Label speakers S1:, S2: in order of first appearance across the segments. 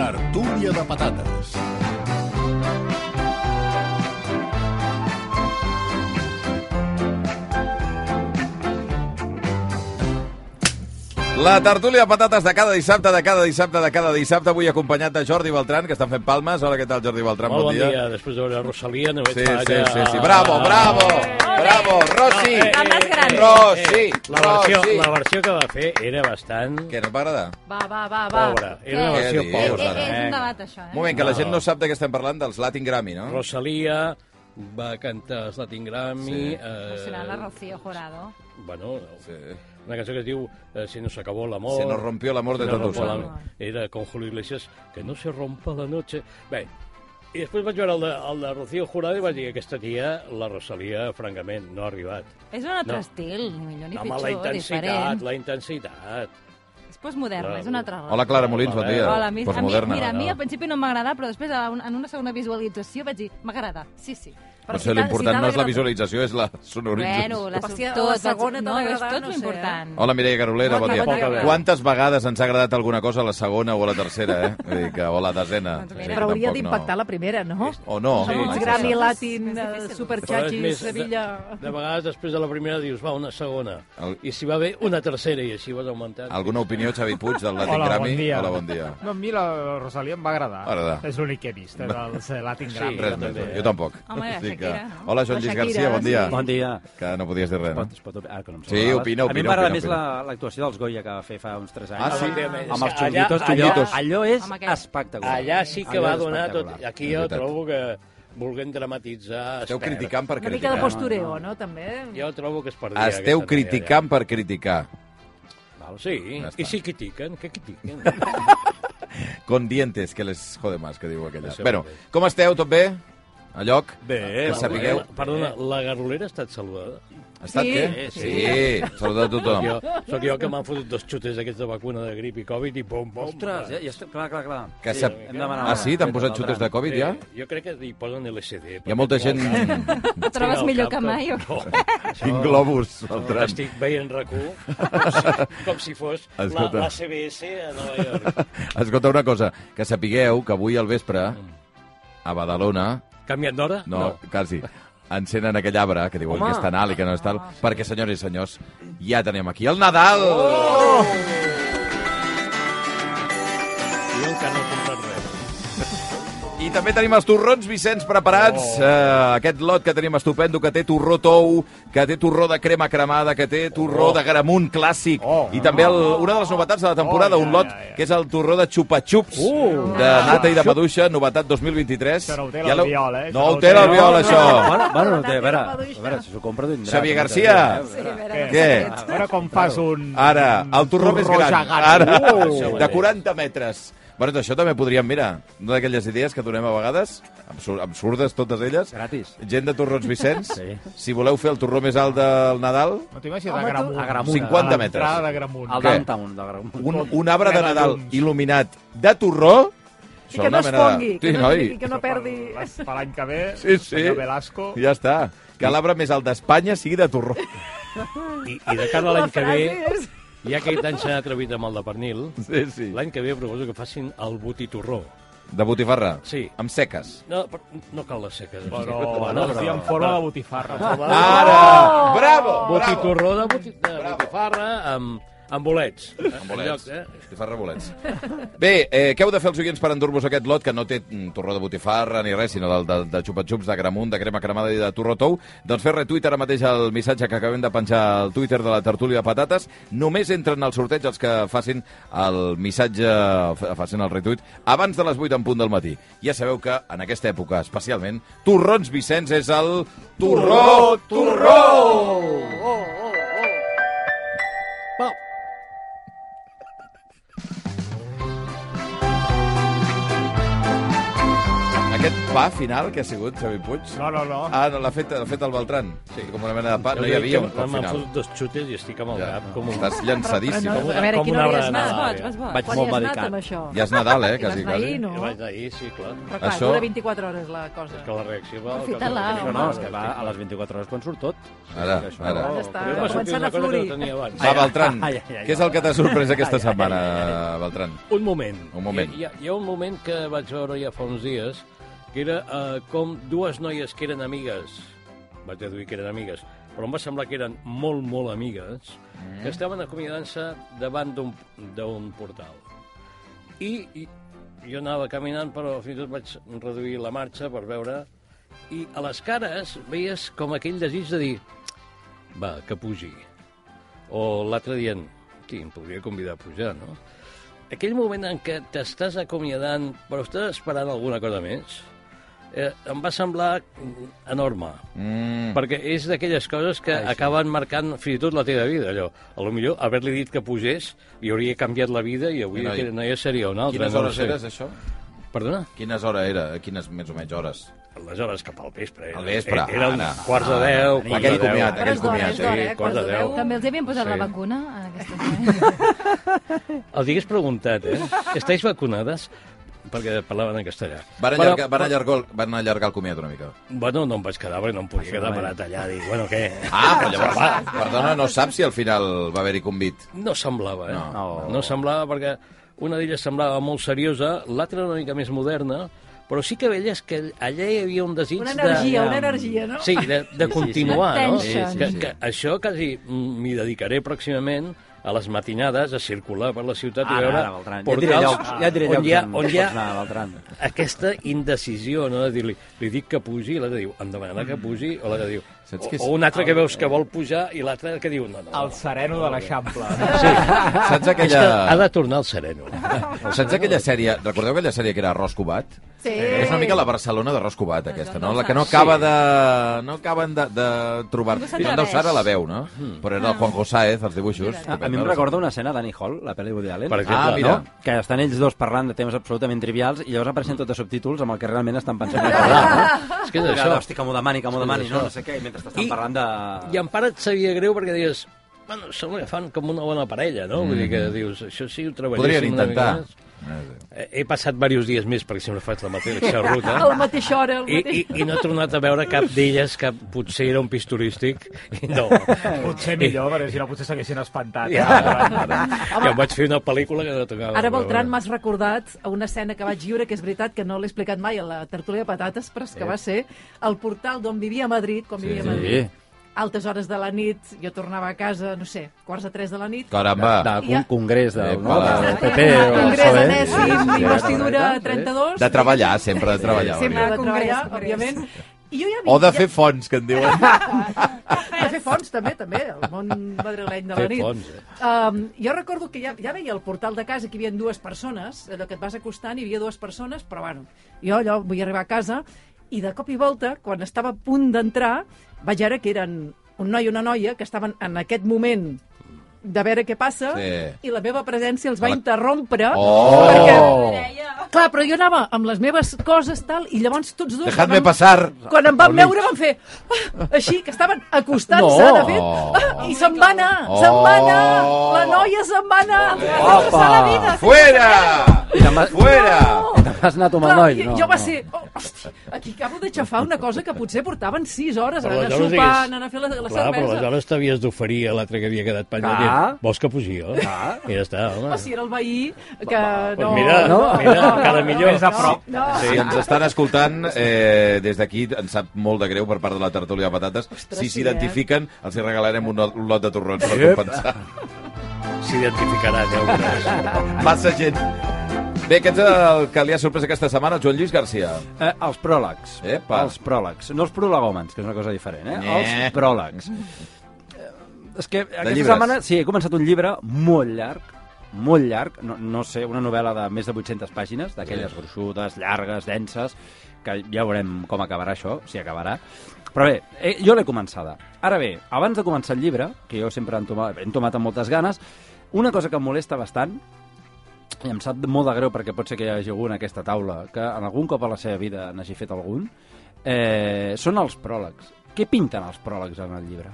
S1: Tertúlia de patates.
S2: La tertúlia de patates de cada dissabte, de cada dissabte, de cada dissabte, avui acompanyat de Jordi Beltran, que estan fent palmes. Hola, què tal, Jordi Beltran?
S3: Molt bon dia. Després de veure Rosalia no veig
S2: Sí,
S3: fallar.
S2: sí, sí, sí. Bravo, bravo,
S3: Eh,
S2: bravo, Rossi.
S4: La més gran.
S2: Rossi,
S3: La versió,
S2: Rossi.
S3: la versió que va fer era bastant
S2: Què, no t'agrada?
S4: Va, va, va, va.
S3: pobra. Era una
S4: Què?
S3: versió
S2: Què dius?
S4: Eh,
S3: pobra.
S4: eh, és un
S3: venga.
S4: debat, això, eh?
S2: Un moment, que la gent no sap de què estem parlant, dels Latin Grammy, no?
S3: Rosalia va cantar els Latin Grammy.
S2: Sí.
S3: Eh,
S4: No serà la Rocío Jurado.
S3: Bueno,
S2: Sí.
S3: una cançó que es diu eh, Si nos acabó el amor.
S2: Se nos rompió l'amor de
S3: Se nos
S2: todos.
S3: rompió
S4: ¿no?
S3: la- Era con Julio Iglesias, que no se rompa la noche. Bé, i després vaig veure el de, el de Rocío Jurado i vaig dir aquesta tia, la Rosalia, francament, no ha arribat.
S4: És un altre
S3: No.
S4: estil, ni millor ni
S3: Home,
S4: pitjor,
S3: la intensitat,
S4: diferent.
S3: la intensitat.
S4: És postmoderna, és un altre rotllo.
S2: Hola, Clara Molins, bon dia.
S4: Hola, a mi, a mi,
S2: Postmoderna.
S4: mira, a mi
S3: no?
S4: al principi no m'agradava, però després a un- en una segona visualització vaig dir, m'agrada, sí, sí. Però
S2: Potser l'important no és la
S4: t'agrada-
S2: visualització, és la sonorització.
S4: Bueno, la,
S5: Però si a la
S4: tot,
S5: segona
S4: no, és
S5: t'agrada,
S4: tot
S5: no sé,
S4: l'important.
S2: Hola, Mireia Garolera,
S5: Hola,
S2: bon dia.
S5: bon
S3: dia. Poca
S2: Quantes vegades ens ha agradat alguna cosa a la segona o a la tercera, eh? Vull dir que, o a la desena.
S4: Doncs mira.
S2: Sí,
S5: Però hauria
S2: tampoc
S5: d'impactar la primera, no?
S2: No. O no.
S3: Sí.
S2: mai
S5: Amics
S2: se
S5: Grammy
S2: sap.
S5: Latin,
S4: És difícil.
S3: Però és
S5: Superxatxi,
S3: més,
S5: Sevilla...
S3: De, de vegades, després de la primera, dius, va, una segona.
S2: El-
S3: I si va bé, una tercera, i així vas augmentant.
S2: Alguna opinió, Xavi Puig, del Latin
S6: Hola, bon
S2: Grammy?
S6: dia.
S2: Hola, bon dia.
S6: No, a mi la Rosalia em va agradar.
S2: M'agrada.
S6: És l'únic que he vist, eh, dels eh, Latin
S3: Sí.
S6: Grammy.
S2: Res
S3: també,
S2: més,
S3: eh?
S2: jo tampoc.
S4: Home, la
S2: Així
S4: Shakira, no?
S2: Hola, Joan
S5: La
S2: Lluís
S5: Shakira,
S2: Garcia, bon
S5: sí.
S2: dia.
S7: Bon dia.
S2: Que no podies dir
S7: Es
S2: res,
S7: pot,
S2: no?
S7: es pot, ah, que no em
S2: Sí,
S7: sobrava.
S2: opina,
S7: A mi
S2: opina,
S7: m'agrada
S2: opina,
S7: més
S2: opina.
S7: la- l'actuació dels Goya que va fer fa uns 3 anys.
S2: Ah, sí?
S7: Amb els
S3: És que allà-
S7: xunguitos,
S3: allà-
S7: xunguitos. Allò és
S4: Amb aquest.
S7: espectacular.
S3: Allà sí que
S7: Allò
S3: va
S7: és
S3: donar tot...
S7: espectacular.
S3: Aquí
S2: És
S3: jo
S2: veritat.
S3: trobo que volguem dramatitzar... es
S2: Esteu
S3: perd.
S2: criticant per
S5: Una mica
S2: criticar.
S5: de postureo, no, també?
S3: Jo trobo que es perdia.
S2: Esteu
S3: aquesta
S2: criticant per criticar.
S3: noia, ja. Val, sí,
S2: Ja
S3: i
S2: està.
S3: si critiquen, què critiquen?
S2: Con dientes, que les jode más, que diu aquella.
S3: Això
S2: Bueno,
S3: mateix.
S2: com esteu, tot bé? A lloc?
S7: Bé,
S2: Que sapigueu...
S3: Perdona, la garrolera ha estat saludada?
S2: Ha estat
S5: Sí.
S2: què?
S7: Sí,
S2: Sí,
S7: sí.
S2: saluda a tothom.
S3: Jo, soc jo que m'han fotut dos xutes aquests de vacuna de grip i Covid i pom, pom.
S7: Ostres, ja, ja està, clar, clar, clar.
S2: Que
S7: Sí,
S2: sap-
S7: hem demanat-
S2: Ah, sí? T'han posat xutes de Covid, ja?
S3: Jo crec que hi posen LSD.
S2: Hi ha molta gent...
S4: Et trobes millor que mai, o què?
S2: Quin globus, el
S3: Però
S2: tren.
S3: Estic veient RAC1 com si, com si fos la,
S2: Escolta.
S3: la CBS a Nova York.
S2: Escolta una cosa, que sapigueu que avui al vespre, a Badalona,
S3: Canviant d'hora?
S2: no, no. quasi, encenen aquell arbre que diuen
S7: Home. Ah.
S2: que és tan alt i que no és tal, perquè, senyores i senyors, ja tenim aquí el Nadal! Oh!
S3: Jo encara no he comprat res.
S2: I també tenim els torrons, Vicenç, preparats. Oh. Uh, aquest lot que tenim estupendo, que té torró tou, que té torró de crema cremada, que té torró oh. de gramunt clàssic.
S6: Oh.
S2: I també el, una de les novetats de la temporada,
S6: Oh, ja,
S2: un lot
S6: ja, ja.
S2: que és el torró de xupa-xups,
S3: Uh.
S2: de nata i de maduixa, novetat 2023.
S6: Això no ho té
S2: Ja l'heu-
S6: l'Albiol, eh? Això
S2: No ho té l'Albiol, això.
S7: Bueno, bueno, no té, a veure, a veure, si s'ho compra tindrà.
S2: Xavier Garcia.
S4: Sí, a veure,
S6: Què?
S4: no sé
S2: Què?
S4: ets.
S6: Ara com fas un...
S2: Ara, el torró més gran.
S6: gegant. Uh,
S2: Ara,
S3: Això
S2: de
S3: mateix.
S2: 40 metres. Bueno, això també podríem mirar. Una d'aquelles idees que donem a vegades, absur- absurdes totes elles.
S7: Gratis.
S2: Gent de Torrons Vicenç, sí.
S7: Sí.
S2: si voleu fer el torró més alt del Nadal,
S6: No t'imagines
S7: Home,
S6: a
S7: tu-
S6: Gramunt.
S7: a Gramunt.
S2: 50
S6: A l'entrada
S2: metres.
S6: de Gramunt.
S7: Al
S2: Què?
S7: downtown de Gramunt.
S2: un, un arbre de
S6: Mena
S2: Nadal
S6: llums.
S2: il·luminat de torró...
S5: I que no es fongui, que no, i que no
S6: Això
S5: perdi...
S6: Per les- per l'any que ve,
S2: Sí, sí.
S6: senyor Velasco...
S2: Ja està. Que l'arbre més alt d'Espanya sigui de torró.
S3: I, I de cara a l'any que ve,
S5: és...
S3: ja que tant s'ha atrevit amb el de pernil,
S2: Sí, sí.
S3: l'any que ve proposo que facin el botitorró.
S2: De botifarra.
S3: Sí.
S2: Amb seques.
S3: No, però no cal les seques.
S6: Però,
S3: Bueno,
S6: no, sí, en forma de botifarra.
S2: Ara! Bravo! Bravo!
S3: Botitorró de, boti, de botifarra amb, amb bolets. Amb
S2: bolets.
S3: eh?
S2: Botifarra bolets. Bé, eh, què heu de fer els oients per endur-vos aquest lot, que no té mm, torró de botifarra ni res, sinó del de, de xupa-xups, de gramunt, de crema cremada i de torró tou? Doncs fer retweet ara mateix el missatge que acabem de penjar al Twitter de la tertúlia de patates. Només entren al sorteig els que facin el missatge, fa- facin el retweet, abans de les 8 en punt del matí. Ja sabeu que en aquesta època, especialment, Torrons Vicenç és el... Torró! Torró! Aquest pa final que ha sigut, Xavi Puig?
S6: No, no, no.
S2: Ah, no, l'ha fet, l'ha fet el Beltran. Sí. Com una mena de pa. No hi havia un pa
S3: M'han
S2: final.
S3: fotut dos xutes i estic amb el
S2: Ja.
S3: cap com un...
S2: Estàs llançadíssim.
S5: Però no,
S3: Com
S5: a veure,
S3: una
S5: aquí no hauries
S3: granada.
S5: anat.
S4: Vas boig, vas boig.
S7: Vaig
S5: Quan
S7: molt
S5: hi has anat
S7: medicat.
S5: amb això?
S2: Ja és Nadal, eh? Quasi,
S5: Vas
S2: quasi.
S5: ahir, no?
S3: I vaig d'ahir, sí, clar.
S5: Però clar,
S2: Això-
S5: dura 24 hores la cosa.
S3: És que la reacció va... al cap de-
S4: Aprofita-la,
S7: No, no, és que va a les 24 hores quan surt tot.
S2: Ara,
S7: Això-
S2: ara.
S5: Ja està,
S3: Jo em va sortir una
S5: començant a
S3: cosa que
S5: florir.
S3: no tenia abans.
S2: Va, Beltran,
S7: Ai, ai, ai,
S2: què és el que t'ha sorprès aquesta setmana, Beltran?
S3: Un moment.
S2: Un moment.
S3: Hi ha, hi ha un moment que vaig veure ja fa uns dies, que era eh, com dues noies que eren amigues, vaig deduir que eren amigues, però em va semblar que eren molt, molt amigues, mm. que estaven acomiadant-se davant d'un d'un portal. I, I jo anava caminant, però fins i tot vaig reduir la marxa per veure, i a les cares veies com aquell desig de dir va, que pugi. O l'altre dient, hosti, em podria convidar a pujar, no? Aquell moment en què t'estàs acomiadant, però estàs esperant alguna cosa més, eh, em va semblar mm, enorme.
S2: Mm.
S3: Perquè és d'aquelles coses que acaben marcant fins i tot la teva vida, allò. A lo millor haver-li dit que pugés i hauria canviat la vida i avui
S2: Quina-
S3: aquella noia seria una altra.
S2: Quines
S3: no ho
S2: hores
S3: sé.
S2: eres, això?
S3: Perdona?
S2: Quines hores era? Quines més o menys hores?
S3: Aleshores, cap al vespre.
S2: Al vespre,
S3: Era un
S2: ara.
S3: quarts de
S2: Ara,
S3: deu,
S2: ara.
S3: quarts
S2: Aquell
S3: de deu.
S2: comiat,
S5: aquell comiat, sí.
S3: Sí, quarts de deu.
S4: També els havien posat
S2: Sí.
S4: sí. la vacuna en aquestes noies.
S3: Els hi hagués preguntat, eh? Estàs vacunades? Perquè parlaven en castellà.
S2: Van
S3: Però-
S2: allargar, van allargar, el- van allargar el comiat una mica.
S3: Bueno, no em vaig quedar, perquè no em podia quedar parat allà. Dic, bueno, què?
S2: Ah, però llavors, perdona, no saps si al final va haver-hi convit.
S3: No semblava, eh?
S7: No.
S3: no semblava perquè una d'elles semblava molt seriosa, l'altra una mica més moderna, però sí que veies que allà hi havia un desig
S5: Una
S3: de...
S5: energia, una energia, no?
S3: Sí, de, de continuar,
S4: sí.
S3: no?
S4: Tension.
S3: Que, que això quasi m'hi dedicaré pròximament a les matinades a circular per la ciutat i veure
S7: Ara, Beltran. Ja et diré llocs, ja et diré
S3: on
S7: llocs
S3: hi ha,
S7: on
S3: on hi
S7: pots anar,
S3: ha
S7: Beltran.
S3: aquesta indecisió, no? De dir-li, li dic que pugi, i l'altre diu, em demanarà que pugi, o l'altre diu...
S2: Saps
S3: O,
S2: que és-
S3: o un altre que veus que vol pujar i l'altre que diu, no, no.
S6: El sereno de l'Eixample.
S2: Saps
S3: És que ha
S2: aquella,
S3: de tornar al sereno.
S2: saps aquella sèrie, recordeu aquella sèrie que era Arròs Cubat?
S5: Sí.
S2: És una mica la Barcelona d'Arròs Cubat, aquesta, no? La que no acaba de... no acaben de, de trobar. No
S4: No
S2: deu
S4: s'atreveix.
S2: ser a la veu, no? Però era el Juanjo Sáez, els dibuixos.
S7: Ah, A, a mi em recorda una escena d'Annie Hall, la pel·li de Woody Allen.
S3: Per exemple,
S2: Ah, mira.
S7: No? Que estan ells dos parlant de temes absolutament trivials i llavors apareixen tots els subtítols amb el que realment estan pensant. que parlar, no?
S3: És que és
S7: Això.
S3: això.
S7: Hosti, que m'ho demani, que m'ho demani, no, no sé què, i mentre estan
S3: I-
S7: parlant de...
S3: I en part et sabia greu perquè deies bueno, sembla que fan com una bona parella, no? Vull dir que dius, això sí, ho
S2: Podrien
S3: treballéssim una mica
S2: intentar. Ah,
S3: més. Eh, He passat diversos dies més perquè sempre faig la mateixa ruta.
S5: A la mateixa hora, al
S3: I,
S5: mateix...
S3: i, I no he tornat a veure cap d'elles que potser era un pis turístic. i No.
S6: Potser millor, perquè si no potser s'haguessin espantat.
S3: Ja,
S6: Ja.
S3: ja em vaig fer una pel·lícula que no tocava.
S5: Ara,
S3: veure.
S5: Beltran, m'has recordat a una escena que vaig viure, que és veritat que no l'he explicat mai a la tertúlia de patates, però és que va ser el portal d'on vivia a Madrid, quan vivia a Madrid. Altes hores de la nit, jo tornava a casa, no sé, quarts de tres de la nit,
S2: Caramba.
S7: D'un Ah, congrés del,
S2: Epa.
S7: no? del PP o del
S5: Congrés
S7: PSOE.
S5: Anèsim,
S7: Sí,
S5: investidura
S7: sí.
S5: 32,
S2: De treballar, sempre de treballar.
S5: sempre
S2: Oriol.
S5: de treballar,
S4: Congrés, congrés.
S5: òbviament. I jo ja
S2: O de
S5: ja-
S2: fer fonts, que en diuen.
S5: de fer fonts, també, també, el món madrileny de la
S3: Fer
S5: nit.
S3: fonts, eh?
S5: Um, jo recordo que ja, ja veia al portal de casa que hi havia dues persones, allò que et vas acostant, hi havia dues persones, però bueno, jo allò vull arribar a casa, i de cop i volta, quan estava a punt d'entrar, vaig veure que eren un noi i una noia que estaven en aquest moment de veure què passa,
S2: Sí.
S5: i la meva presència els va
S2: La-
S5: interrompre,
S2: Oh!
S5: perquè... Clar, però jo anava amb les meves coses, tal, i llavors tots dos...
S2: Dejadme
S5: quan em-
S2: passar.
S5: Quan em van veure van fer... "Ah", així, que estaven acostant-se,
S7: No.
S5: de fet, ah, i se'n va anar, se'n va anar,
S2: Oh.
S5: la noia se'n va anar.
S7: Opa!
S2: Fuera!
S7: I te'n vas,
S2: Fuera!
S7: i te'n vas anar tu amb el noi.
S5: Clar,
S7: No,
S5: jo va
S7: no.
S5: ser... Oh, hosti, aquí acabo de xafar una cosa que potser portaven 6 hores
S3: Però
S5: anar a
S3: aleshores
S5: sopar,
S3: digues-
S5: anar a fer la, la
S3: Clar, però
S5: cervesa.
S3: aleshores t'havies d'oferir a l'altre que havia quedat penjat.
S7: Clar.
S3: Ah. Vols que pugi, oi? Ah. I ja està, home.
S5: O si era el veí, que no...
S3: Doncs mira, mira, encara millor.
S6: Més a prop.
S5: No, no.
S2: Si ens estan escoltant, eh, des d'aquí ens sap molt de greu per part de la tertúlia de patates. si
S5: sí,
S2: s'identifiquen, els hi regalarem un, lot- un lot de torrons per compensar.
S3: S'identificarà, ja ho veuràs.
S2: Massa gent. Bé, aquest és el que li ha sorprès aquesta setmana, el Joan Lluís Garcia.
S7: Eh, els pròlegs.
S2: Epa.
S7: Els pròlegs. No els prolegòmens, que és una cosa diferent, eh?
S2: Eh.
S7: Els pròlegs. Eh, És que aquesta
S2: llibres.
S7: setmana sí, he començat un llibre molt llarg, molt llarg, no, no sé, una novel·la de més de 800 pàgines, d'aquelles
S2: Sí.
S7: gruixudes, llargues, denses, que ja veurem com acabarà això, si acabarà. Però bé, eh, jo l'he començada. Ara bé, abans de començar el llibre, que jo sempre he entomat, he entomat amb moltes ganes, una cosa que em molesta bastant i em sap molt de greu perquè pot ser que hi hagi algú en aquesta taula que en algun cop a la seva vida n'hagi fet algun, eh, són els pròlegs. Què pinten els pròlegs en el llibre?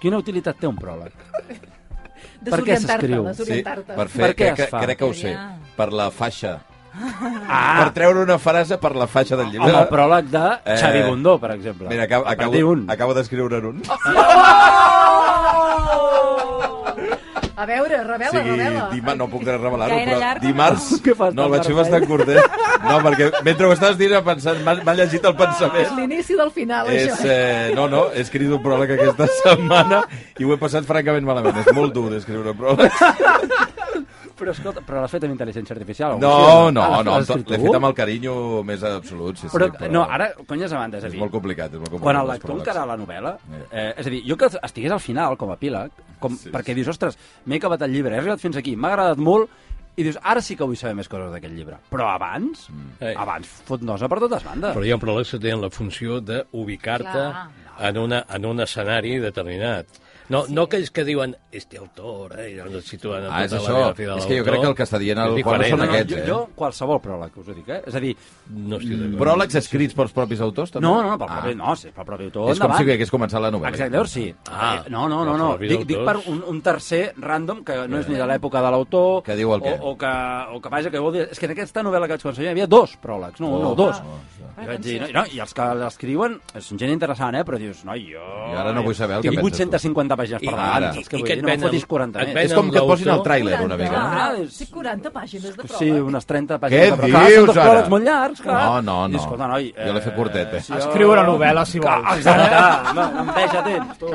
S7: Quina utilitat té un pròleg? Per què
S5: Desorientar-te,
S7: s'escriu?
S5: desorientar-te.
S2: per fer,
S7: Per què
S2: crec,
S7: es
S2: que,
S7: fa?
S2: crec que ho sé,
S4: Ja.
S2: per la faixa.
S7: Ah,
S2: Per treure una frase per la faixa del llibre.
S7: amb el pròleg de Xavi
S2: Eh,
S7: Bundó, per exemple.
S2: Mira, acabo,
S7: Per dir
S2: acabo,
S7: un.
S2: acabo d'escriure en
S5: Oh,
S2: un.
S5: A veure,
S2: O
S5: revela,
S2: sigui,
S5: revela.
S2: dima, no puc revelar-ho,
S4: Gaire
S2: però
S4: llarg,
S2: dimarts...
S7: no? Què fas,
S2: No, el vaig fer
S7: tan
S2: bastant curtet. No, perquè mentre ho estaves dient, pensant, m'ha m'ha llegit el
S5: És
S2: pensament.
S5: l'inici del final,
S2: És,
S5: Ah, això.
S2: eh, no, no, he escrit un pròleg aquesta setmana i ho he passat francament malament. És molt dur d'escriure pròlegs.
S7: Però escolta, però l'has fet amb intel·ligència artificial?
S2: No, no,
S7: Ah, l'has-
S2: no,
S7: l'has escrit
S2: l'he
S7: tu?
S2: fet amb el carinyo més absolut. Sí, sí,
S7: Però, no, ara, conyes a banda, és a
S2: És
S7: dir,
S2: molt complicat, és molt complicat.
S7: quan el
S2: els
S7: lector
S2: pròlegs.
S7: encara la novel·la, eh, és a dir, jo que estigués al final com a epíleg, com,
S2: Sí,
S7: sí, perquè dius, ostres, m'he acabat el llibre, he arribat fins aquí, m'ha agradat molt, i dius, ara sí que vull saber més coses d'aquest llibre. Però abans, mm.
S3: Ei.
S7: abans, fot nosa per totes bandes.
S3: Però hi ha pròlegs que tenen la funció d'ubicar-te
S4: Clar.
S3: en, una, en un escenari determinat. No, sí. no aquells que diuen, este autor, eh, i llavors et situen en
S2: Ah, és
S3: tota
S2: això.
S3: la biografia de
S2: És que jo crec
S3: l'autor.
S2: que el que està dient el
S3: És
S2: Juan
S3: diferent,
S2: són
S3: no?
S2: aquests,
S7: jo,
S2: eh?
S7: jo, qualsevol pròleg, us ho dic, eh? És a dir,
S3: No estic d'acord.
S2: Pròlegs escrits pels propis autors, també?
S7: no, no, no, pel propi, no, sí, pel propi autor,
S2: Doncs Ah. És com si
S7: endavant.
S2: hagués començat la novel·la.
S7: Exacte, llavors sí.
S3: Ah.
S7: Eh, no, no, no,
S3: Els
S7: no.
S3: propis
S7: Dic, dic per
S3: autors.
S7: un, un tercer random que no és ni de l'època de l'autor...
S2: Que diu el què.
S7: O, o, que, o que, vaja, que vol dir... És que en aquesta novel·la que vaig consumir hi havia dos pròlegs, no,
S2: Oh,
S7: un, no, dos. I, vaig dir, no, no, I els que l'escriuen són gent interessant, eh? Però dius, no, jo...
S2: Jo ara no vull saber el que
S7: Tinc
S2: penses tu.
S7: 850 pàgines per
S2: I-
S7: davant,
S2: ara.
S7: saps
S3: I
S7: què vull
S3: que
S7: dir?
S3: et
S7: No me'n
S3: venen-
S7: fotis 40,
S3: et
S7: eh?
S3: venen-
S2: És com que et posin el
S3: l'autor.
S2: tràiler, una mica. no?
S7: Ah,
S5: Ah,
S7: és-
S5: sí, 40 pàgines de prova.
S7: Sí, unes 30
S2: Què
S7: pàgines de pròleg.
S2: dius,
S7: Són dos
S2: ara?
S7: pròlegs molt llargs, clar.
S2: No, no, no.
S7: Dius, escolta, noi,
S2: Jo l'he fet curtet, eh.
S7: jo-
S6: Escriu una novel·la, si
S7: Ah,
S6: vols.
S7: Exacte, home, no em veja temps, tu.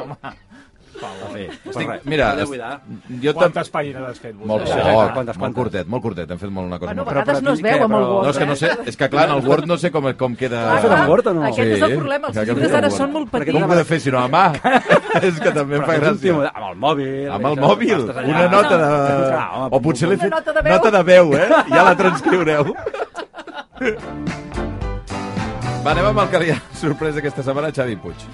S2: Estic, mira,
S7: Podeu
S2: es-
S7: cuidar.
S2: jo tam...
S6: Quantes pàgines has fet? vosaltres?
S2: Molt
S7: Exacte,
S2: poc, molt
S7: quantes, quantes.
S2: curtet, molt curtet. Hem fet molt una cosa
S5: Bueno, a
S2: molt
S7: però-
S5: vegades
S7: però
S5: no es
S7: tu què,
S5: veu amb el eh?
S7: però-
S5: Word.
S2: No, és que no sé, és que clar, en el Word no sé com, com queda...
S7: Has fet en Word o no?
S5: Aquest és el problema, els
S2: Clar que
S5: llibres
S2: no.
S5: ara són molt
S7: Perquè
S2: Com
S5: petits.
S2: ho he de fer, si no, a mà? és que també em fa
S7: Però tu ets un tio
S2: gràcia.
S7: modern, Amb el mòbil.
S2: Amb el
S7: això,
S2: mòbil,
S7: estàs allà.
S2: una nota de...
S7: Clar, home,
S2: O potser l'he
S5: Una
S2: fet...
S5: nota de veu.
S2: Nota de veu, eh? Ja la transcriureu. Va, anem amb el que li ha sorprès aquesta setmana, Xavi Puig.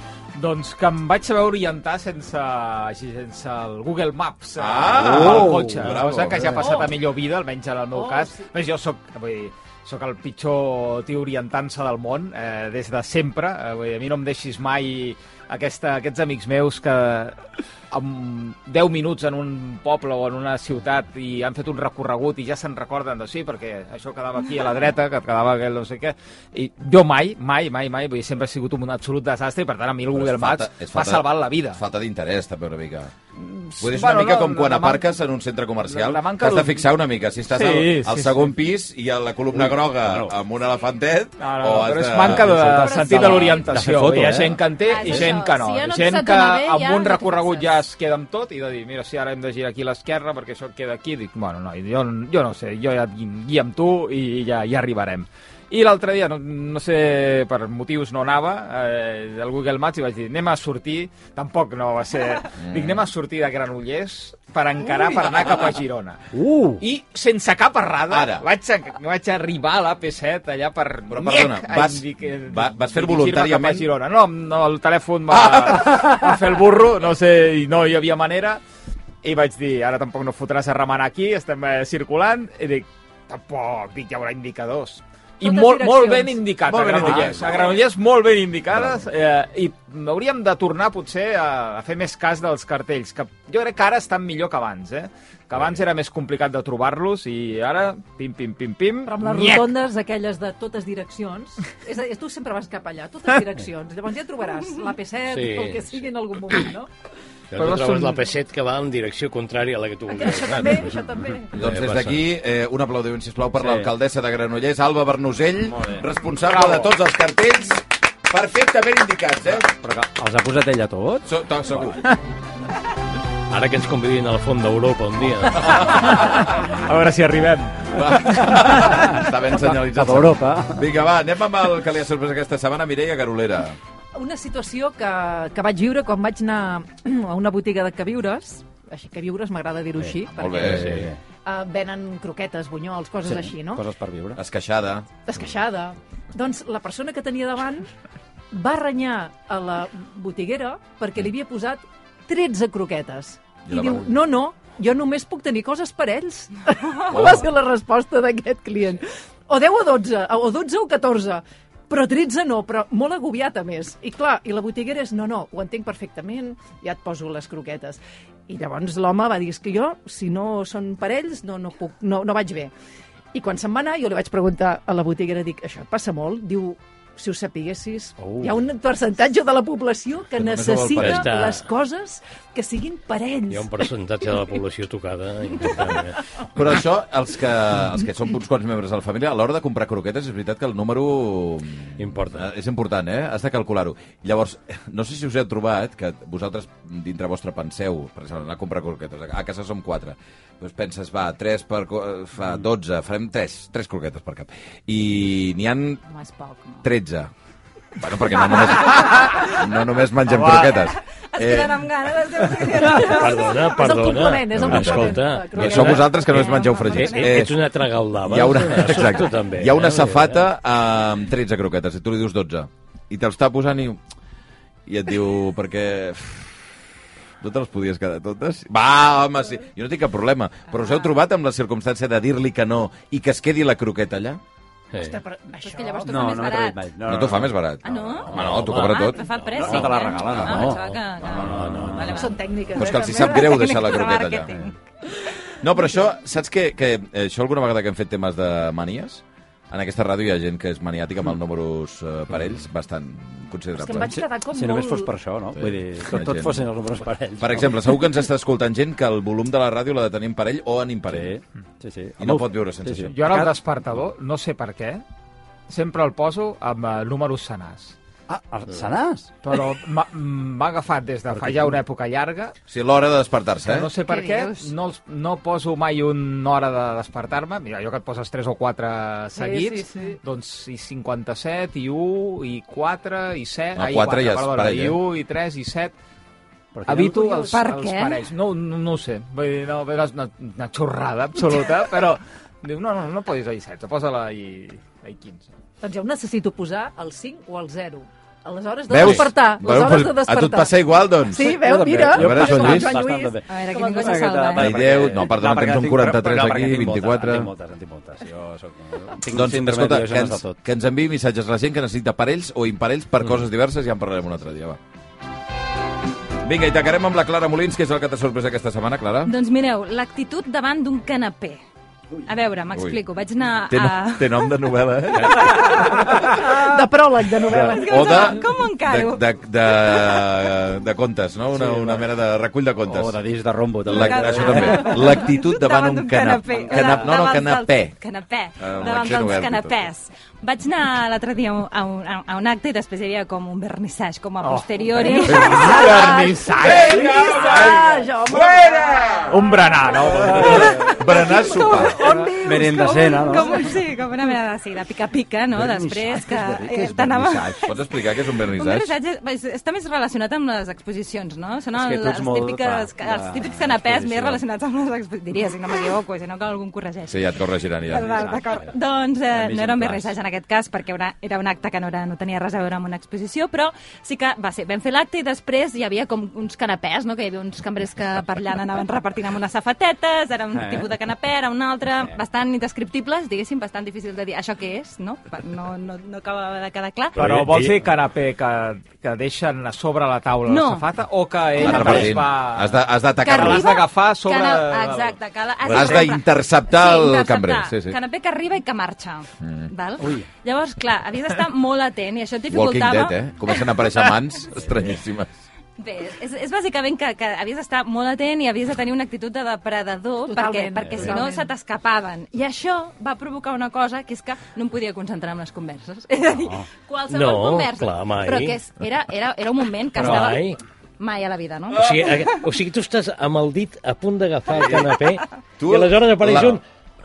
S6: Doncs que em vaig saber orientar sense, així, sense el Google Maps eh,
S2: Ah!
S6: al
S2: Oh,
S6: cotxe,
S2: bravo.
S6: cosa que ja ha passat
S5: Oh.
S6: a millor vida, almenys en el meu
S5: Oh,
S6: cas.
S5: sí.
S6: Més jo sóc, vull dir, sóc el pitjor tio orientant-se del món, eh, des de sempre. Eh, vull dir, a mi no em deixis mai aquesta, aquests amics meus que en 10 minuts en un poble o en una ciutat i han fet un recorregut i ja se'n recorden de sí, perquè això quedava aquí a la dreta, que quedava aquell no sé què. I jo mai, mai, mai, mai, vull dir, sempre he sigut un absolut desastre i per tant a mi el
S2: Però és
S6: Google
S2: falta-
S6: Maps
S2: és
S6: m'ha
S2: falta-
S6: salvat la vida. Mm,
S2: És falta d'interès, també, una mica. Vull dir, és una mica com quan
S6: la man-
S2: aparques en un centre comercial,
S6: la manca
S2: t'has de
S6: d'un-
S2: fixar una mica. Si estàs
S6: Sí,
S2: al,
S6: sí,
S2: al
S6: sí.
S2: segon pis i a la columna groga amb un elefantet...
S6: No, no,
S2: o has
S6: però és
S2: de-
S6: manca de,
S5: Però sí.
S6: sentit de l'orientació.
S7: De fer foto,
S6: Hi ha
S7: eh?
S6: gent que en té
S4: Ah, és
S6: i
S4: això.
S6: gent que no.
S4: Si ja no et
S6: gent
S4: sap
S6: que
S4: donar bé,
S6: amb
S4: ja
S6: un
S4: no t'hi
S6: recorregut
S4: fixes.
S6: ja es queda amb tot i de dir, mira, si ara hem de girar aquí a l'esquerra perquè això queda aquí. Dic, bueno, no, jo, jo no sé, jo ja et gui- guia amb tu i ja, ja arribarem. I l'altre dia, no, no sé, per motius no anava, eh, del Google Maps i vaig dir, anem a sortir, tampoc no va ser... Mm. Dic, anem a sortir de Granollers per encarar, Ui. per anar cap a Girona.
S7: Uh!
S6: I sense cap errada,
S2: Ara.
S6: Vaig, a, vaig arribar a l'AP7 allà per...
S2: Però, perdona,
S6: Nyec,
S2: vas-
S6: a indic-
S2: va- vas fer
S6: dirigir-me
S2: voluntàriament?
S6: cap a Girona. No, no, el telèfon va, va fer el burro, no sé, i no hi havia manera. I vaig dir, ara tampoc no fotràs a remenar aquí, estem eh, circulant. I dic, tampoc, dic, hi haurà indicadors. I
S5: Totes
S6: molt, molt
S5: direccions.
S6: ben indicat
S2: Molt
S6: molt a
S2: ben
S6: Granollers.
S2: indicat.
S6: A Granollers molt ben indicades eh, i hauríem de tornar potser a, a fer més cas dels cartells, que jo crec que ara estan millor que abans, eh? Que abans era més complicat de trobar-los i ara, pim, pim, pim, pim,
S5: Però amb les
S6: nyec!
S5: rotondes aquelles de totes direccions, és a dir, tu sempre vas cap allà, totes direccions, llavors ja trobaràs la P7
S3: Sí,
S5: o el que sigui en algun moment, no?
S3: Llavors
S6: Però
S3: tu trobes
S6: són-
S3: la P7 que va en direcció contrària a la que tu volies.
S5: Això
S3: anar,
S5: també,
S3: no?
S5: això també.
S2: Doncs des
S3: passa.
S2: d'aquí, eh, un aplaudiment, sisplau, per
S7: Sí.
S2: l'alcaldessa de Granollers, Alba Bernusell, responsable
S6: Bravo.
S2: de tots els cartells perfectament indicats, eh?
S7: Però que els ha posat ella tots?
S2: So, to, segur.
S3: Ara que ens convidin al fons d'Europa un dia.
S6: A veure si arribem.
S2: Va. Està ben senyalitzat.
S7: Cap a Europa.
S2: Vinga, va, anem amb el que li ha sorprès aquesta setmana, Mireia Garolera.
S5: Una situació que, que vaig viure quan vaig anar a una botiga de queviures, així que viures m'agrada dir-ho així,
S2: Molt
S5: perquè
S2: bé.
S7: Sí.
S2: Sí.
S5: eh, venen croquetes, bunyols, coses així, no?
S7: Coses per viure.
S2: Esqueixada.
S5: desqueixada. Doncs la persona que tenia davant va renyar a la botiguera perquè li havia posat 13 croquetes.
S2: I
S5: I,
S2: la
S5: diu,
S2: va-
S5: no, no, jo només puc tenir coses per ells. Oh. Va ser la resposta d'aquest client. O 10 o 12, o 12 o 14, però 13 no, però molt agobiat a més. I clar, i la botiguera és, no, no, ho entenc perfectament, ja et poso les croquetes. I llavors l'home va dir, és que jo, si no són parells, no, no, puc, no, no vaig bé. I quan se'n va anar, jo li vaig preguntar a la botiguera, dic, això et passa molt? Diu, si ho sapiguessis,
S3: Oh.
S5: hi ha un percentatge de la població que
S2: Que només ho vol
S5: necessita
S3: parell.
S5: les coses que siguin parells.
S3: Hi ha un percentatge de la població tocada. important, eh?
S2: Però això, els que, els que són uns quants membres de la família, a l'hora de comprar croquetes, és veritat que el número...
S3: Importa.
S2: Eh, És important, eh? Has de calcular-ho. Llavors, no sé si us heu trobat que vosaltres, dintre vostre, penseu, per exemple, anar a comprar croquetes. A casa som quatre. Doncs penses, va, tres per... co- eh, fa 12, farem tres, tres croquetes per cap. I n'hi han
S4: No és poc, no.
S2: 13. Bueno, perquè no només, no només mengem
S6: Home.
S2: croquetes. Eh,
S4: Es
S7: Eh.
S4: queden amb gana les teves
S3: Perdona,
S5: És el
S3: perdona.
S5: complement, és el complement.
S3: Escolta,
S5: La
S2: I
S5: croqueta.
S2: sou vosaltres que només
S4: Eh,
S2: mengeu
S4: home,
S2: fregits.
S4: Eh,
S3: Eh, ets una tragaldava.
S2: hi ha una,
S3: Exacte.
S2: exacte,
S3: eh? També,
S2: hi ha una
S3: eh?
S2: safata amb 13 croquetes i tu li dius 12 i te'ls està posant i, i et diu perquè no te les podies quedar totes? Va, home, sí. Jo no tinc cap problema. Però us
S4: Ah.
S2: heu trobat amb la circumstància de dir-li que no i que es quedi la croqueta allà?
S3: Eh.
S5: Hosta, però això...
S4: que llavors t'ho
S7: No,
S4: fa
S7: no
S4: més
S7: m'he atrevit
S4: barat.
S7: mai.
S2: No, no, t'ho fa més barat.
S4: Ah, no?
S2: Home, no, t'ho
S3: Home,
S2: cobra
S4: Ah,
S2: tot.
S4: que fa pressing,
S7: no te la
S4: eh?
S7: regalen,
S4: Ah,
S7: no.
S4: pensava que- que-
S7: No, no, no, no.
S4: Vale, vale.
S5: Són tècniques,
S2: Però és
S5: eh,
S2: que els hi
S5: també.
S2: sap greu deixar la
S4: De
S2: croqueta allà.
S4: màrqueting.
S2: No, però això, saps que, que eh, això alguna vegada que hem fet temes de manies? En aquesta ràdio hi ha gent que és maniàtica amb el números eh, parells bastant
S5: És
S2: considerable.
S5: que em vaig quedar com molt...
S7: Si només fos per això, no?
S2: Sí.
S7: Vull dir, tot, tot
S2: Imagina.
S7: fossin els números parells.
S2: Per exemple, segur que ens està escoltant gent que el volum de la ràdio l'ha de tenir en parell o en imparell.
S7: Sí, sí, sí.
S2: I no pot viure sense això.
S6: Jo ara el despertador, no sé per què, sempre el poso amb eh, números senars.
S7: Ah, el Sanàs?
S6: Però m'ha m'ha agafat des de fa ja una època llarga,
S2: O sigui, l'hora de despertar-se,
S6: que no
S2: eh?
S6: sé per
S4: Què
S6: què,
S4: dius?
S6: no, els, no poso mai una hora de despertar-me. Mira, jo que et poses 3 o 4 seguits,
S5: sí, sí.
S6: doncs i 57, i 1, i 4, i 7...
S2: No, quatre ja és
S6: perdona,
S2: parell, eh?
S6: I 1, i 3, i 7...
S7: Perquè
S6: Habito
S4: curiós.
S6: els,
S4: Per
S6: els
S4: què?
S6: parells. No, no, no ho sé. Vull dir, no, és una, una xorrada absoluta, però... Diu, no, no, no posis ahir 16, posa-la ahir, ahir 15.
S5: Doncs jo em necessito posar el 5 o el 0. A les hores de
S2: Veus?
S5: despertar. Les
S2: Veus?
S5: hores de
S2: A tu et
S5: despertar.
S2: passa igual, doncs?
S5: Sí,
S7: Jo
S5: veu,
S7: també.
S5: mira.
S2: A veure, Joan
S5: com el
S2: Lluís.
S7: Bastant
S4: A veure,
S5: Com
S4: quin
S5: el
S4: ningú se
S5: Joan-
S4: salva,
S2: Ai,
S4: eh?
S2: Déu, no, perdona, tens un 43 aquí, 24.
S7: Tinc moltes, en tinc moltes. Jo soc... Tinc
S2: Doncs, escolta, que
S7: que
S2: ens, que ens enviï missatges la gent que necessita parells o imparells per coses diverses, ja en parlarem un altre dia, va. Vinga, i tancarem amb la Clara Molins, que és el que t'ha sorprès aquesta setmana, Clara.
S4: Doncs mireu, l'actitud davant d'un canapé. A veure, m'explico. Vaig anar
S2: Té, no,
S4: a...
S2: té nom de novel·la, eh?
S5: De pròleg de novel·la.
S4: És que
S2: O
S4: em
S2: de,
S4: sembla- com ho encaro?
S2: de, de, de, de contes, no? Una,
S7: Sí,
S2: una
S7: va.
S2: mera de recull Oh, de contes.
S7: O de disc de rombo,
S2: La,
S7: també.
S4: Cada-
S2: això també. L'actitud davant, un canapé. Canap, no, no,
S4: davant del-
S2: canapé.
S4: Canapé.
S2: Ah, amb
S4: davant
S2: accent
S4: dels
S2: obert i tot.
S4: canapés. Vaig anar l'altre dia a un, a, a un acte i després hi havia com un vernissatge, com
S7: Oh,
S4: a posteriori.
S6: Vernissatge!
S5: Ah, jo, home.
S6: Un berenar, no?
S2: Berenar, sopar.
S7: Merendacena, no?
S4: Com, sí, com una mena de, sí, de pica-pica, no? Després que...
S7: Què
S4: eh,
S7: és
S4: T'anava...
S7: vernissatge?
S2: Pots explicar què és un
S4: Un
S2: vernissatge?
S4: vernissatge és- està més relacionat amb les exposicions, no? Són
S7: És que
S4: els,
S7: tu ets molt,
S4: típiques,
S7: clar,
S4: els
S7: de-
S4: típics canapés
S7: exposició.
S4: més relacionats amb les exposicions. Diria, si no m'equivoco, si no que algú em corregeixi.
S2: Sí, ja et corregirant, ja.
S4: Val, d'acord. Doncs eh,
S7: més
S4: no era un
S7: en
S4: vernissatge en aquest cas, perquè era, era un acte que no, era, no tenia res a veure amb una exposició, però sí que va ser, vam fer l'acte i després hi havia com uns canapès, no? que hi havia uns cambrers que per allà anaven repartint amb unes safatetes, era un
S7: Eh.
S4: tipus de canapè, era un altre, bastant indescriptibles, diguéssim, bastant difícil de dir això què és, no? Per- No, no, no acabava de quedar clar.
S6: Però
S3: Però
S6: vols
S3: ell-
S6: dir canapé que, que deixen a sobre la taula
S4: No.
S6: la safata o que ell
S2: Ara
S6: també es
S2: partint.
S6: va...
S2: Has de- has d'atacar-lo.
S6: arriba- l'has d'agafar a sobre
S4: Que
S6: del-
S4: no, exacte, que la-
S2: Has d'interceptar el cambrer, sí, Mm. sí.
S4: Canapé que arriba i que marxa. Val? Llavors, clar, havies d'estar molt atent i això et
S2: Walking
S4: dificultava...
S2: Dead, eh? Comencen a aparèixer mans estranyíssimes.
S4: Bé, és, és bàsicament que, que havies d'estar molt atent i havies de tenir una actitud de depredador perquè,
S5: Totalment,
S4: perquè si no
S5: totalment.
S4: se t'escapaven. I això va provocar una cosa que és que no em podia concentrar en les converses. És a dir,
S6: Oh.
S4: qualsevol
S3: No,
S4: conversa.
S3: clar, mai.
S4: Però que és, era, era, era un moment que
S3: Però
S4: estava...
S3: mai.
S4: Mai a la vida, no?
S3: O sigui, a- o sigui, tu estàs amb el dit a punt d'agafar el canapé
S2: Tu-
S3: i aleshores apareix
S2: la-
S3: un...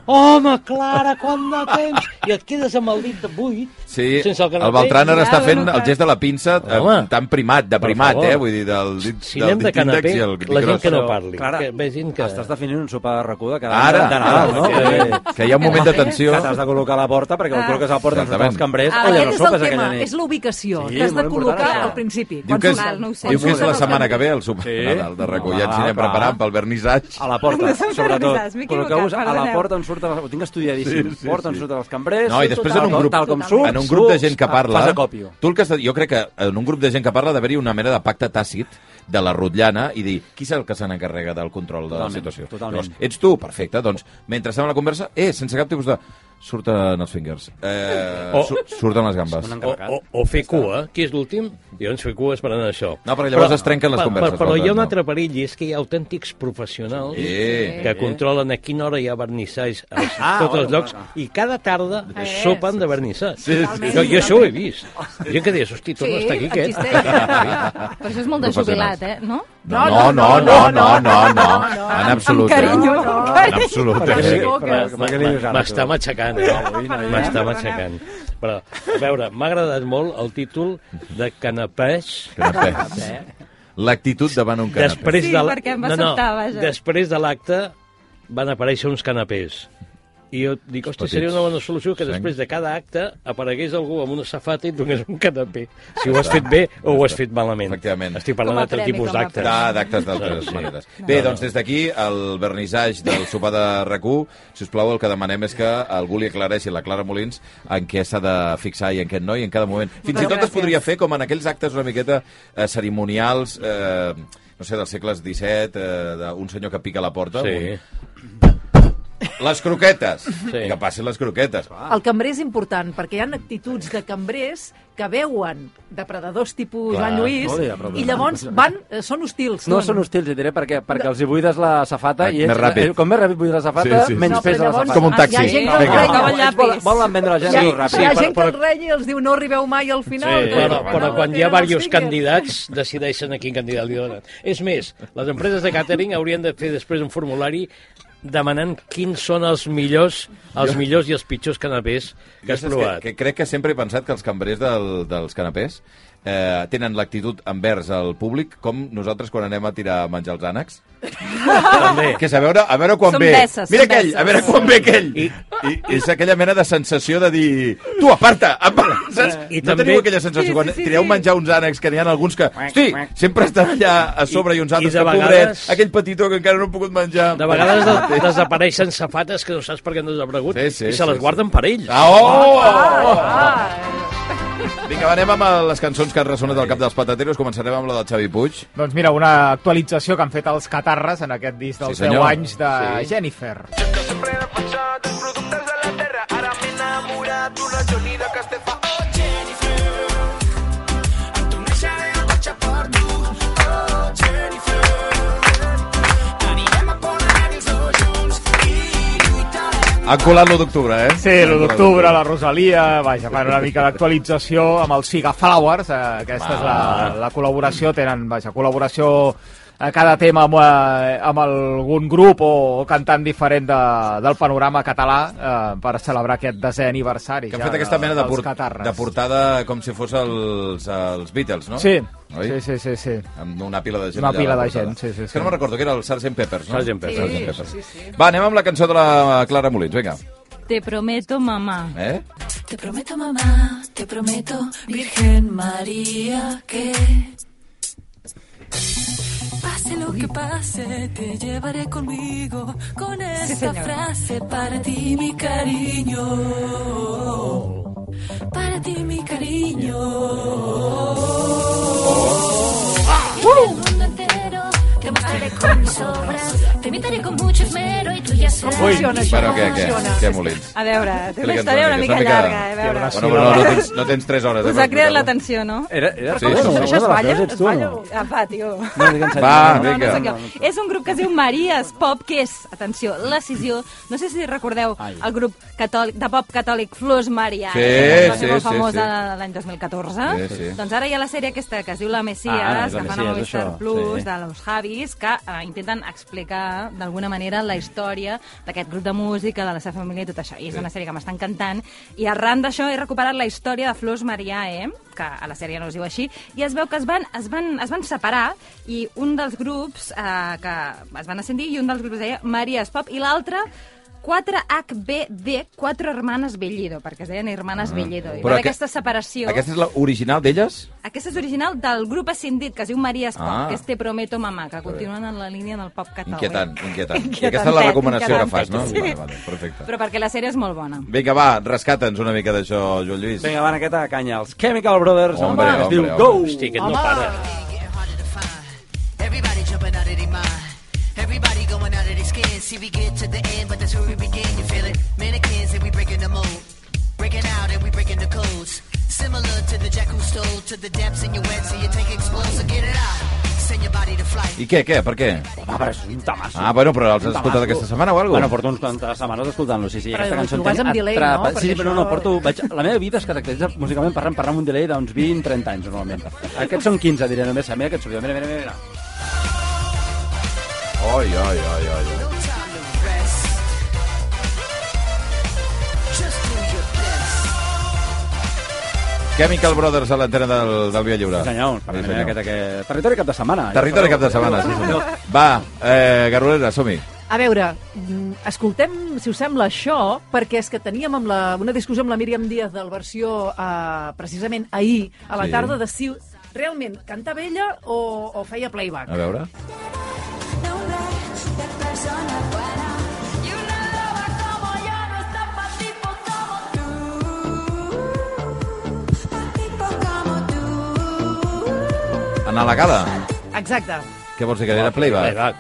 S3: Home, Clara, quant de temps! i et quedes amb el dit de buit
S2: Sí,
S3: sense el
S2: el
S3: canapé.
S2: Beltran ara
S4: Ja,
S2: està fent
S4: bueno,
S2: el
S4: clar.
S2: gest de la pinça eh,
S3: Home.
S2: tan primat, de
S3: Per
S2: primat,
S3: favor.
S2: eh? Vull dir, del dit,
S3: Si
S2: del
S3: anem de
S2: dit índex
S3: canapé,
S2: i el dit
S3: la gent
S2: gros.
S3: que no
S7: Però,
S3: parli.
S7: Clara,
S3: que vegin que...
S7: Estàs definint un sopar de recuda cada
S2: Ara,
S7: nit de Nadal, no?
S2: ara,
S7: Eh,
S2: que hi ha un moment de tensió.
S7: Que t'has de col·locar a la porta, perquè ho
S4: Ah.
S7: col·loques a la porta, ens surten els
S2: Exactament.
S7: cambrers,
S4: Ah,
S7: o ja
S5: Aquest és
S7: no
S5: el
S7: sopes
S5: tema,
S7: aquella nit.
S5: és l'ubicació,
S7: Sí,
S5: que has de
S7: molt important,
S5: col·locar
S7: això.
S5: al principi.
S2: Diu
S5: quan
S2: que és,
S5: surten.
S4: no ho sé.
S2: diu que és la
S5: Quan surten
S2: setmana
S5: els
S2: que ve el sopar
S7: Sí.
S2: sí. Nadal de recull.
S3: Ah,
S2: Ja ens
S7: Home,
S2: anirem
S7: clar.
S2: preparant pel vernissatge.
S7: A la porta,
S4: M'he
S7: sobretot.
S4: perdonat, m'he
S7: Col·loqueu-vos a
S4: equivocat,
S7: la
S4: perdoneu.
S7: porta on surten... els- Ho tinc estudiadíssim.
S2: Sí, sí,
S7: porta on
S2: sí.
S7: surten els cambrers...
S2: No, i després en un
S7: tal
S2: grup-
S7: Tal com surts,
S2: en un grup de
S7: surts,
S2: gent que
S3: Ah,
S7: fa-
S2: parla...
S7: Fas de còpio.
S2: Tu el que has de, jo crec que en un grup de gent que parla ha d'haver-hi una mena de pacte tàcit de la rotllana i dir qui és el que se n'encarrega del control de
S7: Totalment,
S2: la situació.
S7: totalment.
S2: Llavors, ets tu? Perfecte. Doncs, mentre estem a la conversa, eh, sense cap tipus de... Surten els fingers. Eh,
S3: O-
S2: su surten les gambes.
S7: Un
S3: O, o, o fer cua, qui és l'últim? I doncs fer cua esperant això.
S2: Oh. No, perquè llavors es trenquen les
S3: per- per-
S2: converses,
S3: Però
S2: Beltran,
S3: hi ha un
S2: no.
S3: altre perill, i és que hi ha autèntics professionals
S2: Eh.
S3: que controlen a quina hora hi ha vernissatge a
S7: Ah,
S3: tots els
S7: bueno,
S3: llocs i cada tarda
S4: Eh,
S3: sopen de vernissatge.
S2: sí,
S4: sí.
S3: Jo, jo això ho he vist. Gent que deies, hosti, tu no està aquí aquest.
S4: Però això és molt de
S2: Professionals.
S4: jubilat, eh? No?
S2: No, no, no, no, no, no, no. En absolut, eh?
S4: carinyo, amb
S2: En absolut,
S7: Perquè
S2: eh?
S7: sí.
S3: Ma-
S7: Per què li dius
S3: ma-
S7: ara,
S3: M'està
S7: tu?
S3: matxacant, eh? M'està matxacant. Però, a veure, m'ha agradat molt el títol de Canapès
S2: Canapés. L'actitud davant un canapé.
S3: després
S4: Sí,
S3: de la-
S4: perquè em va
S3: no, no,
S4: sobtar, vaja.
S3: després de l'acte van aparèixer uns canapés. I jo dic, hosti,
S2: petits.
S3: seria una bona solució que
S2: Cinc.
S3: després de cada acte aparegués algú amb una safata i et donés un canapé. Si ho has fet bé o ho has fet malament.
S2: Efectivament.
S3: Estic
S4: Com
S3: parlant
S4: a
S3: d'altre
S4: premi,
S3: tipus
S4: com a
S3: d'actes.
S2: Da- d'actes d'altres
S3: Sí.
S2: maneres. Bé, doncs des d'aquí, el vernissatge del sopar de rac si us plau, el que demanem és que algú li aclareixi a la Clara Molins en què s'ha de fixar i en què no, i en cada moment. Fins i tot es podria fer com en aquells actes una miqueta eh, cerimonials, eh, no sé, dels segles XVII, eh, d'un senyor que pica a la porta.
S3: Sí.
S2: Un... Les croquetes!
S3: Sí.
S2: Sí. Que passin les croquetes.
S5: El cambrer és important, perquè hi ha actituds de cambrers que veuen depredadors tipus
S3: Clar,
S5: Clar, Joan Lluís
S7: no li depredadors.
S5: i llavors van, eh, són hostils.
S7: No són hostils, et diré, perquè, perquè els hi buides la safata
S2: Ah,
S7: i ells,
S2: més ràpid.
S7: eh, com més ràpid buides la safata,
S2: Sí, sí, sí.
S7: menys
S5: No, però
S7: pesa la
S5: llavors
S7: safata.
S2: Com un taxi.
S5: Hi ha gent que els
S4: Vinga.
S5: renya.
S4: Volen-
S7: volen volen, volen vendre la
S5: Hi
S7: gent
S5: ha,
S7: molt
S5: hi ha
S7: ràpid.
S5: gent que els renya i els diu no arribeu mai al final.
S3: Sí,
S5: perquè
S3: però,
S5: no
S3: però
S5: la
S3: quan hi ha
S5: tenen
S3: diversos
S5: els fingers.
S3: candidats, decideixen a quin candidat li donen. És més, les empreses de càtering haurien de fer després un formulari demanant quins són els millors, els millors i els pitjors canapés que has
S2: Jo saps
S3: provat.
S2: Que, que crec que sempre he pensat que els cambrers del, dels canapés eh, tenen l'actitud envers el públic com nosaltres quan anem a tirar a menjar els ànecs.
S3: També.
S2: Que és a veure, a veure quan
S4: Són
S2: ve.
S4: veces,
S2: Mira
S4: són
S2: aquell,
S4: veces.
S2: a veure quan ve aquell. I, I, és aquella mena de sensació de dir... Tu, aparta, aparta. Saps?
S3: I
S2: I no
S3: també-
S2: teniu aquella sensació
S4: Sí, sí,
S2: quan
S4: sí,
S2: tireu
S4: sí.
S2: menjar uns ànecs que n'hi ha alguns que... Hosti, sempre estan allà a sobre i, uns
S3: I-
S2: altres
S3: i de
S2: que, pobret,
S3: vegades-
S2: aquell petitó que encara no he pogut menjar.
S3: De vegades de- desapareixen safates que no saps per què han desaparegut
S2: Sí, sí,
S3: i se
S2: sí,
S3: les
S2: sí.
S3: guarden per ells.
S2: Ah, oh!
S4: Ah,
S2: Vinga, va, anem amb les cançons que han ressonat al cap dels patateros. Començarem amb la del Xavi Puig.
S6: Doncs mira, una actualització que han fet els catarres en aquest disc dels
S2: Sí,
S6: 10
S2: senyor.
S6: anys de
S3: Sí.
S6: Jennifer.
S1: Sempre defensat els productes de la terra. Ara m'he enamorat d'una Johnny de Castefa. Oh, Jennifer, em tornejaré el cotxe per tu. Oh, Jennifer, anirem a Polaris dos junts i lluitarem.
S2: Han colat l'1 d'octubre, eh?
S6: Sí, l'1 d'octubre, la Rosalia, vaja, fan una mica d'actualització amb els Figa Flowers, eh, aquesta és
S2: Ah.
S6: la, la col·laboració, tenen, vaja, col·laboració a cada tema amb, eh, amb algun grup o, o cantant diferent de, del panorama català eh, per celebrar aquest desè aniversari.
S2: Que han
S6: ja
S2: fet aquesta
S6: de-
S2: mena de,
S6: dels
S2: port
S6: Catarres.
S2: de portada com si fos els, els Beatles, no?
S6: Sí,
S2: Oi?
S6: sí, sí, sí, sí.
S2: Amb una pila de gent
S6: Una
S2: allà a
S6: pila
S2: la
S6: de
S2: portada.
S6: gent, sí, sí,
S2: És que
S6: sí.
S2: no me'n recordo, que era el Sgt. Peppers, no?
S3: Sgt. Peppers.
S2: Sgt. Peppers. Va, anem amb la cançó de la Clara Molins, vinga.
S4: Te prometo, mamà.
S2: Eh?
S8: Te prometo, mamá, te prometo, Virgen María, que pase lo que pase, te llevaré conmigo con esta frase para ti, mi cariño. Para ti, mi cariño. El mundo entero te mostraré con mis obras, te imitaré con mucho esmero y tú ya serás.
S5: funciona, això?
S2: Bueno,
S5: Com
S2: què, què,
S5: funciona?
S2: què, Molins?
S4: A veure, té una
S2: Explica'ns
S4: història
S2: una
S4: una
S2: mica, és
S4: mica
S2: una mica-
S4: llarga, eh? A veure.
S2: Bueno, bueno, no, tens, no tens 3 hores. eh,
S4: Us
S2: per
S4: ha creat
S2: explicar-ho.
S4: l'atenció, no?
S7: Era, era,
S2: Sí, sí,
S7: era
S2: sí.
S7: una
S5: Això es
S7: de les
S5: balla?
S7: veus, ets
S5: Es
S7: tu, no?
S5: balla?
S4: Apa, tio.
S7: No, digue'ns
S2: Va,
S4: No,
S7: allà,
S4: no
S2: vinga.
S4: sé què. És un grup que es diu Maries Pop, que és, atenció, la cisió... No sé si recordeu el grup catòlic, de pop catòlic Flors Maria,
S2: Sí,
S4: que va
S2: sí,
S4: ser molt
S2: sí,
S4: famosa
S2: sí.
S4: l'any 2014.
S2: Sí, sí,
S4: Doncs ara hi ha la sèrie aquesta que es diu La Messias,
S7: Ah, és
S4: que
S7: La
S4: fan a
S7: Messias,
S4: Movistar
S7: això,
S4: Plus,
S7: sí.
S4: de Los Javis, que que eh, intenten explicar d'alguna manera la història d'aquest grup de música, de la seva família i tot això. I és una sèrie que m'està encantant. I arran d'això he recuperat la història de Flors Mariae, que a la sèrie no es diu així, i es veu que es van, es van, es van separar i un dels grups eh, que es van ascendir i un dels grups deia Maries Pop i l'altre 4HBD, 4 Hermanes Bellido, perquè es deien Hermanes Bellido. I
S2: Ah, Però
S4: per
S2: aqu-
S4: aquesta separació... Ah,
S2: Aquesta és l'original d'elles?
S4: Aquesta és original del grup Ascendit, que es diu Maria Espop,
S2: Ah.
S4: ah. que és Te prometo mamà, que continuen en la línia del pop català.
S2: Inquietant, inquietant. I
S4: Inquietantet,
S2: aquesta és la recomanació que fas,
S4: inquietantet,
S2: no?
S4: sí.
S2: Vale, vale, perfecte.
S4: Però perquè la sèrie és molt bona.
S2: Vinga, va, rescata'ns una mica d'això, Joan Lluís.
S7: Vinga, van aquesta canya. Els Chemical Brothers,
S2: Hombre,
S7: home, es diu
S2: hombre,
S7: Go!
S2: hombre.
S3: Hosti, aquest no para.
S9: Getting harder to find. Everybody jumping out of their mind. Everybody going out of their skin. See, we get to the end, but that's where we begin. You feel it? Mannequins, and we breaking the mold. Breaking out, and we breaking the codes. Similar to the jack who stole to the depths, and you wet, so you take explosive. Get it out. Send your body to flight.
S2: I què, què, per què?
S7: Home, però és un tamasso.
S2: Ah, bueno, però els has escoltat aquesta setmana o alguna
S7: Bueno,
S2: cosa?
S7: porto uns quantes setmanes escoltant-lo, sí, sí.
S5: Però
S7: aquesta
S5: ho
S7: cançó em
S5: jugues
S7: tenia
S5: amb delay, no?
S7: atrapat. Sí,
S5: Perquè
S7: sí, però no,
S5: això-
S7: porto... Vaig... La meva vida es caracteritza musicalment parlant, parlant amb un delay d'uns 20-30 anys, normalment. Aquests són 15, diré només. Mira, aquests sortiran. Mira, mira, mira. mira.
S2: Oi, oi, oi, oi. oi.
S9: No time to rest. Just do your best.
S2: Chemical Brothers a l'antena del, del Via Lliure.
S7: Sí, senyor,
S2: Sí,
S7: parlem
S2: senyor.
S7: aquest, aquest... Territori cap de setmana.
S2: Territori cap de setmana, sí, senyor. Va, eh, Garolera, som-hi.
S5: A veure, mm, escoltem, si us sembla, això, perquè és que teníem amb la, una discussió amb la Míriam Díaz del versió eh, precisament ahir, a la
S2: Sí.
S5: sí. tarda, de si realment cantava ella o, o feia playback.
S2: A veure.
S8: de persona buena y una loba como yo no está pa' tipo como tú, pa' tipo como tú.
S2: Anar a la gala.
S5: Exacte.
S2: Què vols dir, que era playback?
S3: Playback.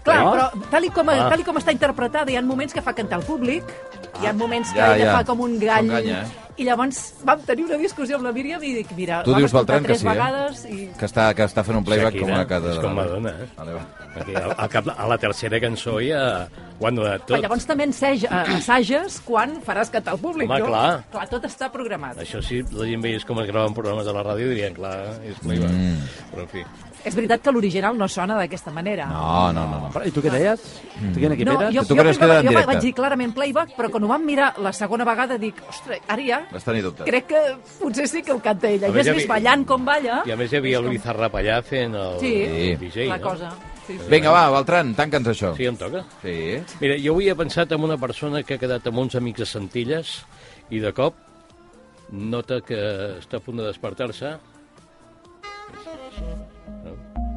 S5: Clar,
S7: No?
S5: però tal i, com,
S3: Ah.
S5: tal i com està interpretada, hi ha moments que fa cantar el públic, hi ha moments que
S2: Ah, ja,
S5: ella
S2: ja.
S5: fa com un gall...
S2: S'enganya, eh?
S5: I llavors vam tenir una discussió amb la Míriam i dic, mira,
S2: Tu
S5: vam
S2: dius,
S5: escoltar
S2: Beltran, que
S5: tres
S2: sí, eh?
S5: vegades i...
S2: Que està, que està fent un playback com una casa
S3: és
S2: de...
S3: com Madonna, eh?
S2: Vale, va.
S3: Perquè al, al cap, a la tercera cançó ja ho han donat
S5: Però
S3: tot.
S5: Ah, llavors també enseja, eh, assages quan faràs cantar al públic,
S3: Home,
S5: no?
S3: clar.
S5: clar, tot està programat.
S3: Això sí, la gent veiés com es graven programes de la ràdio i dirien, clar, és playback. Mm. Però, en fi,
S5: És veritat que l'original no sona d'aquesta manera.
S2: No, no, no. no.
S7: Però, I tu què deies? Tu quin equip
S5: No,
S7: eres?
S5: jo,
S2: Tu
S5: jo,
S2: creus que
S5: primer-
S2: era en
S5: jo
S2: directe?
S5: vaig dir clarament playback, però quan ho vam mirar la segona vegada dic, ostres, ara ja
S2: Vas tenir dubtes.
S5: crec que potser sí que ho canta ella.
S3: A
S5: I
S3: més,
S5: has
S3: ja
S5: vist
S3: vi-
S5: ballant com balla
S3: I a més hi havia el Bizarrap allà fent el,
S5: Sí.
S3: el DJ,
S5: la
S2: eh?
S3: no?
S5: cosa. Sí, sí.
S2: Vinga, va, Beltran, Ah, tanca'ns això.
S3: Sí, em toca.
S2: Sí.
S3: Mira, jo avui he pensat en una persona que ha quedat amb uns amics a Centelles i de cop nota que està a punt de despertar-se.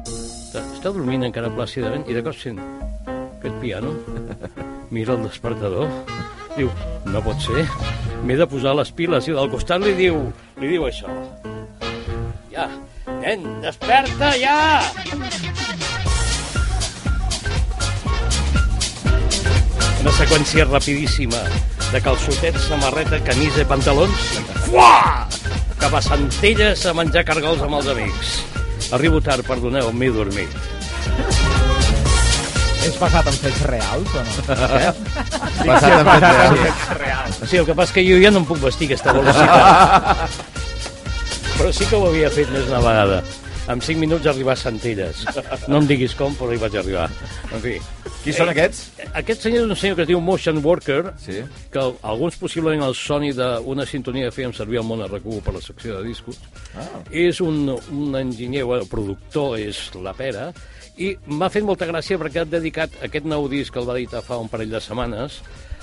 S3: Està, està dormint encara plàcidament i de cop sent aquest piano. Mira el despertador. Diu, no pot ser, m'he de posar les piles. I del costat li diu, li diu això. Ja, nen, desperta ja! Una seqüència rapidíssima de calçotets, samarreta, camisa i pantalons. Fuà! Cap a Centelles a menjar cargols amb els amics. Arribo tard, perdoneu, m'he dormit.
S6: És basat en fets reals o no?
S2: Passat en fet real.
S3: Sí, el que passa és que jo ja no em puc vestir a aquesta velocitat. però sí que ho havia fet més una vegada. En 5 minuts arribar a Centelles. No em diguis com, però hi vaig arribar. En fi,
S2: Qui són aquests?
S3: aquest senyor és un senyor que es diu Motion Worker,
S2: Sí.
S3: que alguns possiblement el soni d'una sintonia que fèiem servir al món a RAC1 per la secció de discos. Ah. És un, un enginyer, bueno, productor, és la pera, i m'ha fet molta gràcia perquè ha dedicat aquest nou disc que el va editar fa un parell de setmanes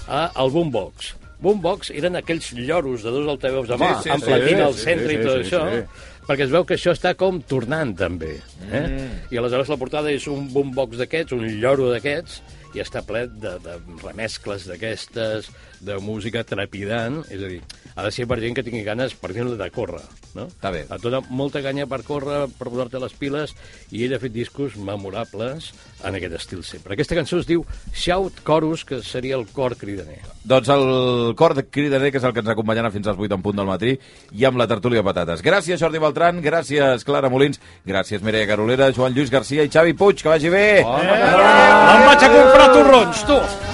S3: a, al Boombox. Boombox eren aquells lloros de dos altaveus de mà,
S2: Sí, sí,
S3: amb
S2: sí,
S3: platina
S2: sí,
S3: al
S2: sí,
S3: centre
S2: sí,
S3: i tot
S2: sí,
S3: això,
S2: sí.
S3: perquè es veu que això està com tornant, també. Eh? Mm. I aleshores la portada és un boombox d'aquests, un lloro d'aquests, i està ple de, de remescles d'aquestes, de música trepidant, és a dir, ha de ser per gent que tingui ganes, per dir-ne, de córrer. No?
S2: Està bé.
S3: Et dona molta canya per córrer, per posar-te les piles, i ell ha fet discos memorables en aquest estil sempre. Aquesta cançó es diu Shout Chorus, que seria el cor cridaner.
S2: Doncs el cor de cridaner, que és el que ens acompanyarà fins als 8 en punt del matí, i amb la tertúlia de patates. Gràcies, Jordi Beltran, gràcies, Clara Molins, gràcies, Mireia Garolera, Joan Lluís Garcia i Xavi Puig, que vagi bé!
S3: Me'n vaig a comprar torrons, tu!